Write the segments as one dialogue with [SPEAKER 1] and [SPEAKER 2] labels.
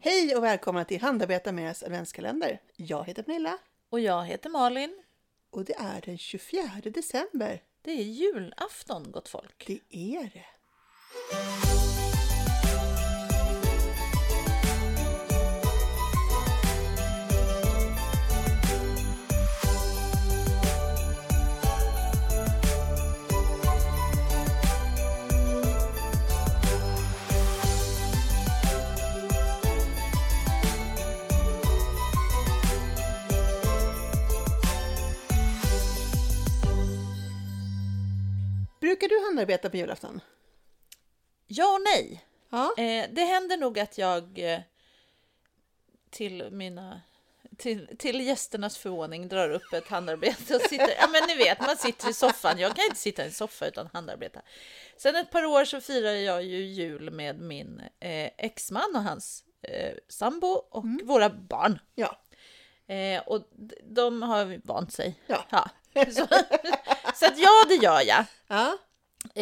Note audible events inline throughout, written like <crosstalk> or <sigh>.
[SPEAKER 1] Hej och välkomna till Handarbeta med oss adventskalender. Jag heter Pernilla
[SPEAKER 2] Och jag heter Malin.
[SPEAKER 1] och det är den 24 december.
[SPEAKER 2] Det är julafton gott folk.
[SPEAKER 1] Det är det. Brukar du handarbeta på julafton?
[SPEAKER 2] Ja och nej.
[SPEAKER 1] Ja.
[SPEAKER 2] Eh, det händer nog att jag eh, till mina till, till gästernas förvåning drar upp ett handarbete och sitter, ja men ni vet man sitter i soffan, jag kan inte sitta i en soffa utan handarbeta. Sen ett par år så firar jag ju jul med min eh, exman och hans eh, sambo och våra barn.
[SPEAKER 1] Ja.
[SPEAKER 2] Eh, och d- de har vant sig.
[SPEAKER 1] Ja.
[SPEAKER 2] Så, så att ja, det gör jag.
[SPEAKER 1] Ja.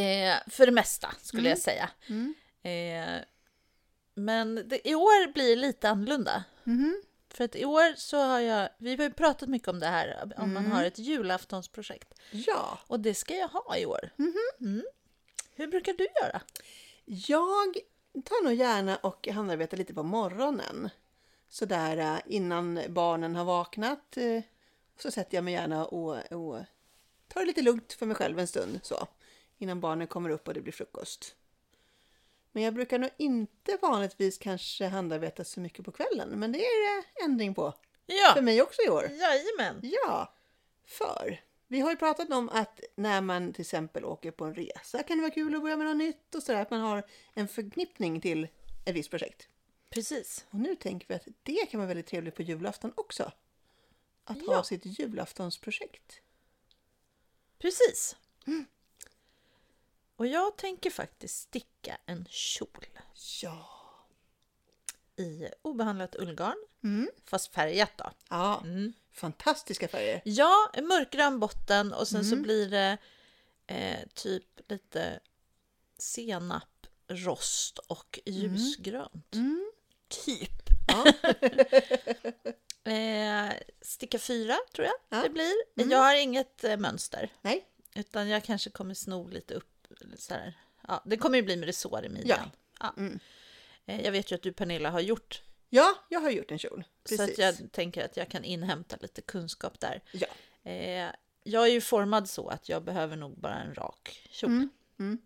[SPEAKER 2] Eh, för det mesta skulle jag säga.
[SPEAKER 1] Mm.
[SPEAKER 2] Eh, men det, i år blir lite annorlunda.
[SPEAKER 1] Mhm.
[SPEAKER 2] För att i år så har jag, vi har ju pratat mycket om det här, om
[SPEAKER 1] Mm.
[SPEAKER 2] man har ett julaftonsprojekt.
[SPEAKER 1] Ja.
[SPEAKER 2] Och det ska jag ha i år.
[SPEAKER 1] Mm-hmm.
[SPEAKER 2] Mm. Hur brukar du göra?
[SPEAKER 1] Jag tar nog gärna och handarbetar lite på morgonen. Sådär eh, innan barnen har vaknat. eh, Så sätter jag mig gärna och, och tar det lite lugnt för mig själv en stund. Så, innan barnen kommer upp och det blir frukost. Men jag brukar nog inte vanligtvis kanske handarbeta så mycket på kvällen. Men det är det ändring på. För
[SPEAKER 2] Ja,
[SPEAKER 1] mig också i år.
[SPEAKER 2] jajamän.
[SPEAKER 1] Ja, för vi har ju pratat om att när man till exempel åker på en resa kan det vara kul att börja med något nytt och sådär att man har en förknippning till ett visst projekt.
[SPEAKER 2] Precis.
[SPEAKER 1] Och nu tänker vi att det kan vara väldigt trevligt på julafton också. Att ha
[SPEAKER 2] Ja.
[SPEAKER 1] sitt julaftonsprojekt.
[SPEAKER 2] Precis.
[SPEAKER 1] Mm.
[SPEAKER 2] Och jag tänker faktiskt sticka en kjol
[SPEAKER 1] Ja.
[SPEAKER 2] i obehandlat ullgarn,
[SPEAKER 1] Mm.
[SPEAKER 2] fast färgat då.
[SPEAKER 1] Ja,
[SPEAKER 2] Mm.
[SPEAKER 1] fantastiska färger.
[SPEAKER 2] Ja, en mörkgrön botten och sen
[SPEAKER 1] Mm.
[SPEAKER 2] så blir det eh, typ lite senap, rost och ljusgrönt.
[SPEAKER 1] Mm.
[SPEAKER 2] Typ.
[SPEAKER 1] Ja.
[SPEAKER 2] <laughs> Eh, sticka fyra tror jag
[SPEAKER 1] Ja. Mm.
[SPEAKER 2] det blir. Jag har inget eh, mönster
[SPEAKER 1] Nej,
[SPEAKER 2] utan jag kanske kommer sno lite upp. Så här. Ja, det kommer ju bli med resår i midjan. Ja.
[SPEAKER 1] Mm.
[SPEAKER 2] Eh, jag vet ju att du Pernilla har gjort
[SPEAKER 1] ja, jag har gjort en kjol. Precis.
[SPEAKER 2] så att jag tänker att jag kan inhämta lite kunskap där.
[SPEAKER 1] Ja.
[SPEAKER 2] Eh, jag är ju formad så att jag behöver nog bara en rak kjol.
[SPEAKER 1] Mm.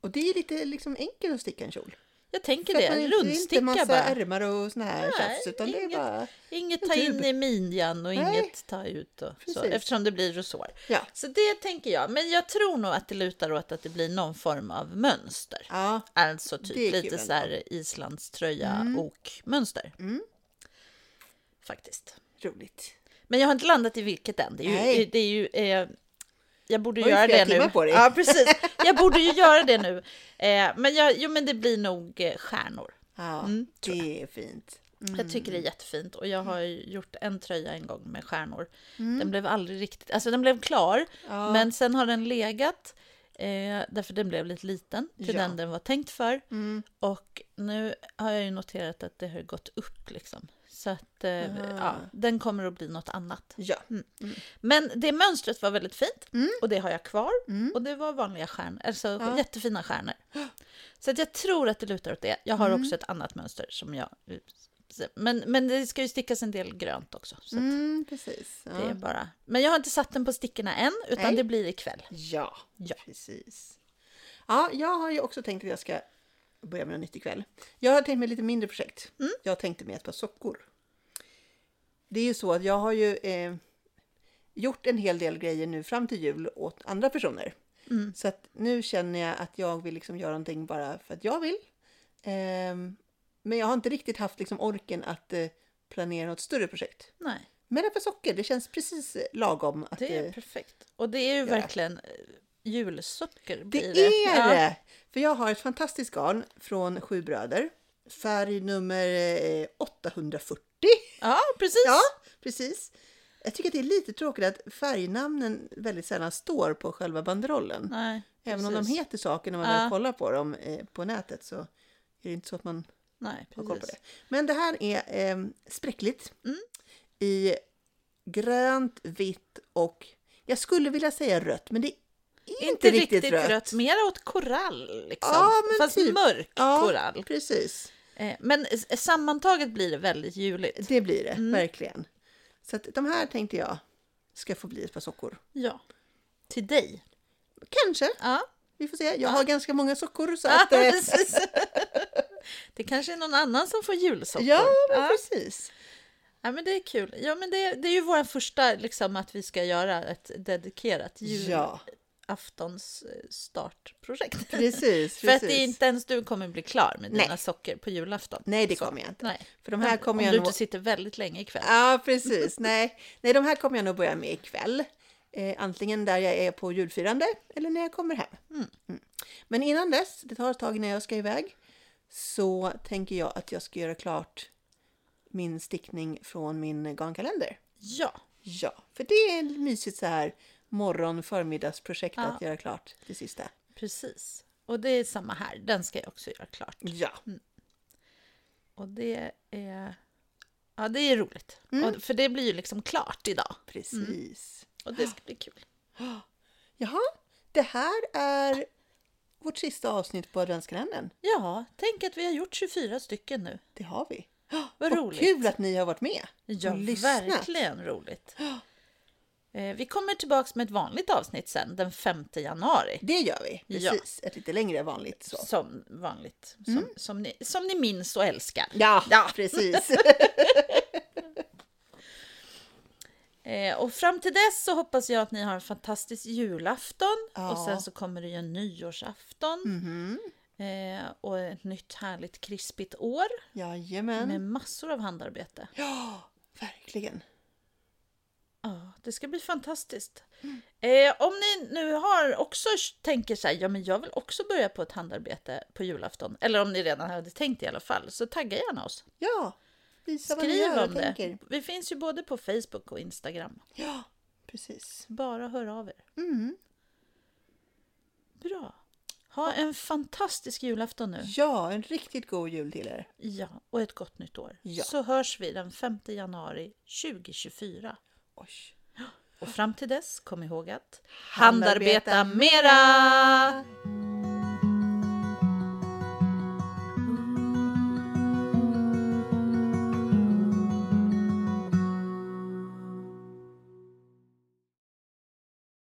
[SPEAKER 1] Och det är lite liksom enkelt att sticka en kjol.
[SPEAKER 2] Jag tänker
[SPEAKER 1] För att man
[SPEAKER 2] det,
[SPEAKER 1] inte- det är
[SPEAKER 2] rundsticka
[SPEAKER 1] inte massa
[SPEAKER 2] bara.
[SPEAKER 1] ärmar och såna här
[SPEAKER 2] Nej,
[SPEAKER 1] tjafs utan det är
[SPEAKER 2] inget.
[SPEAKER 1] bara...
[SPEAKER 2] Inget ta in i midjan och
[SPEAKER 1] Nej.
[SPEAKER 2] inget ta ut och så,
[SPEAKER 1] Precis.
[SPEAKER 2] eftersom det blir rosor.
[SPEAKER 1] Ja.
[SPEAKER 2] Så det tänker jag, men jag tror nog att det lutar åt att det blir någon form av mönster.
[SPEAKER 1] Ja,
[SPEAKER 2] Alltså
[SPEAKER 1] Det är
[SPEAKER 2] typ
[SPEAKER 1] kul
[SPEAKER 2] lite
[SPEAKER 1] ändå.
[SPEAKER 2] så här islandströja och mönster.
[SPEAKER 1] Mm.
[SPEAKER 2] Faktiskt.
[SPEAKER 1] roligt.
[SPEAKER 2] Men jag har inte landat i vilket än. Det är ju,
[SPEAKER 1] Nej.
[SPEAKER 2] det är ju, eh, jag borde
[SPEAKER 1] Du
[SPEAKER 2] ju
[SPEAKER 1] har ju flera
[SPEAKER 2] göra det
[SPEAKER 1] timmar
[SPEAKER 2] nu.
[SPEAKER 1] på dig.
[SPEAKER 2] <laughs> Ja, precis. Jag borde ju göra det nu. Eh, men, jag, jo, men det blir nog eh, stjärnor.
[SPEAKER 1] Ja, Mm.
[SPEAKER 2] Mm,
[SPEAKER 1] det är fint.
[SPEAKER 2] Jag tycker det är jättefint och jag har ju gjort en tröja en gång med stjärnor. Den blev aldrig riktigt, alltså den blev klar,
[SPEAKER 1] Mm. Ja.
[SPEAKER 2] men sen har den legat eh, därför den blev lite liten till
[SPEAKER 1] Ja.
[SPEAKER 2] den den var tänkt för.
[SPEAKER 1] Mm.
[SPEAKER 2] Och nu har jag ju noterat att det har gått upp liksom. Så att eh, ja,
[SPEAKER 1] Ah.
[SPEAKER 2] den kommer att bli något annat.
[SPEAKER 1] Ja.
[SPEAKER 2] Men det mönstret var väldigt fint
[SPEAKER 1] Mm.
[SPEAKER 2] och det har jag kvar.
[SPEAKER 1] Mm.
[SPEAKER 2] Och det var vanliga stjärnor, alltså
[SPEAKER 1] Ja.
[SPEAKER 2] jättefina stjärnor. Så att jag tror att det lutar åt det. Jag har
[SPEAKER 1] Mm.
[SPEAKER 2] också ett annat mönster som jag... Men, men det ska ju stickas en del grönt också. Så att
[SPEAKER 1] Mm, precis. Ja.
[SPEAKER 2] det är bara... Men jag har inte satt den på stickorna än, utan
[SPEAKER 1] Nej.
[SPEAKER 2] det blir ikväll.
[SPEAKER 1] Ja,
[SPEAKER 2] Ja.
[SPEAKER 1] precis. Ja, jag har ju också tänkt att jag ska börja med något nytt ikväll. Jag har tänkt mig lite mindre projekt. Jag tänkte mig ett par sockor. Det är ju så att jag har ju eh, gjort en hel del grejer nu fram till jul åt andra personer. Så att nu känner jag att jag vill liksom göra någonting bara för att jag vill. Ehm, men jag har inte riktigt haft liksom orken att eh, planera något större projekt.
[SPEAKER 2] Nej,
[SPEAKER 1] Men ett par sockor, det känns precis eh, lagom. Att,
[SPEAKER 2] det
[SPEAKER 1] eh,
[SPEAKER 2] är perfekt. Och det är ju verkligen eh, julsocker.
[SPEAKER 1] Det
[SPEAKER 2] Blir
[SPEAKER 1] är
[SPEAKER 2] Ja.
[SPEAKER 1] det! För jag har ett fantastiskt garn från Sju bröder. Färg nummer eh, 840.
[SPEAKER 2] ja, precis.
[SPEAKER 1] Ja, precis. Jag tycker att det är lite tråkigt att färgnamnen väldigt sällan står på själva banderollen.
[SPEAKER 2] Nej,
[SPEAKER 1] Även om de
[SPEAKER 2] precis.
[SPEAKER 1] heter saker när man
[SPEAKER 2] Ja.
[SPEAKER 1] väl kollar på dem eh, på nätet så är det inte så att man
[SPEAKER 2] Nej,
[SPEAKER 1] ha koll på det.
[SPEAKER 2] precis.
[SPEAKER 1] Men det här är eh, spräckligt
[SPEAKER 2] Mm.
[SPEAKER 1] i grönt, vitt och jag skulle vilja säga rött, men det är inte,
[SPEAKER 2] Inte
[SPEAKER 1] riktigt, rött.
[SPEAKER 2] mer åt korall liksom.
[SPEAKER 1] Ja, men
[SPEAKER 2] Fast
[SPEAKER 1] typ.
[SPEAKER 2] mörk
[SPEAKER 1] Ja,
[SPEAKER 2] korall.
[SPEAKER 1] precis.
[SPEAKER 2] Eh, Men s- sammantaget blir det väldigt juligt.
[SPEAKER 1] Det blir det,
[SPEAKER 2] Mm.
[SPEAKER 1] verkligen. Så att de här tänkte jag ska få bli ett par sockor.
[SPEAKER 2] Ja. Till dig.
[SPEAKER 1] Kanske,
[SPEAKER 2] Ja,
[SPEAKER 1] vi får se. Jag har ganska många sockor så <laughs>
[SPEAKER 2] ja
[SPEAKER 1] att... eh,
[SPEAKER 2] precis. <laughs> Det kanske är någon annan som får julsoppor.
[SPEAKER 1] Ja, men precis.
[SPEAKER 2] Ja, men det är kul. Ja, men det, det är ju vår första, liksom, att vi ska göra ett dedikerat
[SPEAKER 1] Ja,
[SPEAKER 2] julaftons-startprojekt.
[SPEAKER 1] precis.
[SPEAKER 2] <laughs> För att det
[SPEAKER 1] precis.
[SPEAKER 2] är inte ens du kommer bli klar med dina
[SPEAKER 1] Nej.
[SPEAKER 2] socker på julafton.
[SPEAKER 1] Nej, det
[SPEAKER 2] Så.
[SPEAKER 1] kommer jag inte.
[SPEAKER 2] Nej.
[SPEAKER 1] För de här kommer
[SPEAKER 2] Om
[SPEAKER 1] jag
[SPEAKER 2] du
[SPEAKER 1] nog...
[SPEAKER 2] inte sitter väldigt länge ikväll.
[SPEAKER 1] Ja, precis. Nej. Nej, de här kommer jag nog börja med ikväll. Eh, antingen där jag är på julfirande eller när jag kommer hem. Mm. Men innan dess, det tar ett tag när jag ska iväg, så tänker jag att jag ska göra klart min stickning från min garnkalender.
[SPEAKER 2] Ja,
[SPEAKER 1] Ja, för det är ett mysigt så här morgon förmiddagsprojekt
[SPEAKER 2] Ja.
[SPEAKER 1] att göra klart det sista.
[SPEAKER 2] precis. Och det är samma här. Den ska jag också göra klart.
[SPEAKER 1] Ja,
[SPEAKER 2] Och det är... Ja, det är roligt.
[SPEAKER 1] Mm.
[SPEAKER 2] Och, för det blir ju liksom klart idag.
[SPEAKER 1] precis.
[SPEAKER 2] Och det ska bli kul.
[SPEAKER 1] Jaha, det här är vårt sista avsnitt på adventskalendern.
[SPEAKER 2] Ja, tänk att vi har gjort 24 stycken nu.
[SPEAKER 1] Det har vi.
[SPEAKER 2] Vad
[SPEAKER 1] Vad
[SPEAKER 2] roligt.
[SPEAKER 1] kul att ni har varit med.
[SPEAKER 2] Ja,
[SPEAKER 1] och lyssnat.
[SPEAKER 2] verkligen roligt. Eh, Vi kommer tillbaka med ett vanligt avsnitt sen, den 5 januari.
[SPEAKER 1] Det gör vi.
[SPEAKER 2] Ja.
[SPEAKER 1] Precis. Ett lite längre än vanligt. Så. Mm.
[SPEAKER 2] Som vanligt. Som, som, ni, som ni minns och älskar.
[SPEAKER 1] Ja, precis.
[SPEAKER 2] <laughs> Eh, och fram till dess så hoppas jag att ni har en fantastisk julafton.
[SPEAKER 1] Ja. Mhm.
[SPEAKER 2] Och sen så kommer det ju en nyårsafton. Eh, och ett nytt härligt krispigt år.
[SPEAKER 1] Jajamän.
[SPEAKER 2] Med massor av handarbete.
[SPEAKER 1] Ja, verkligen.
[SPEAKER 2] Ja, det ska bli fantastiskt.
[SPEAKER 1] Mm.
[SPEAKER 2] Eh, om ni nu har också tänker så här, ja men jag vill också börja på ett handarbete på julafton. Eller om ni redan hade tänkt i alla fall, så tagga gärna oss.
[SPEAKER 1] Ja, visa vad ni
[SPEAKER 2] Skriv
[SPEAKER 1] gör och
[SPEAKER 2] om det.
[SPEAKER 1] tänker.
[SPEAKER 2] Vi finns ju både på Facebook och Instagram.
[SPEAKER 1] Ja, precis.
[SPEAKER 2] Bara hör av er.
[SPEAKER 1] Mm.
[SPEAKER 2] Bra. Ha en fantastisk julafton nu.
[SPEAKER 1] Ja, en riktigt god jul till er.
[SPEAKER 2] Ja, och ett gott nytt år.
[SPEAKER 1] Ja.
[SPEAKER 2] Så hörs vi den 5 januari 2024.
[SPEAKER 1] Oj.
[SPEAKER 2] Och fram till dess, kom ihåg att
[SPEAKER 1] Handarbeta
[SPEAKER 2] handarbeta mera!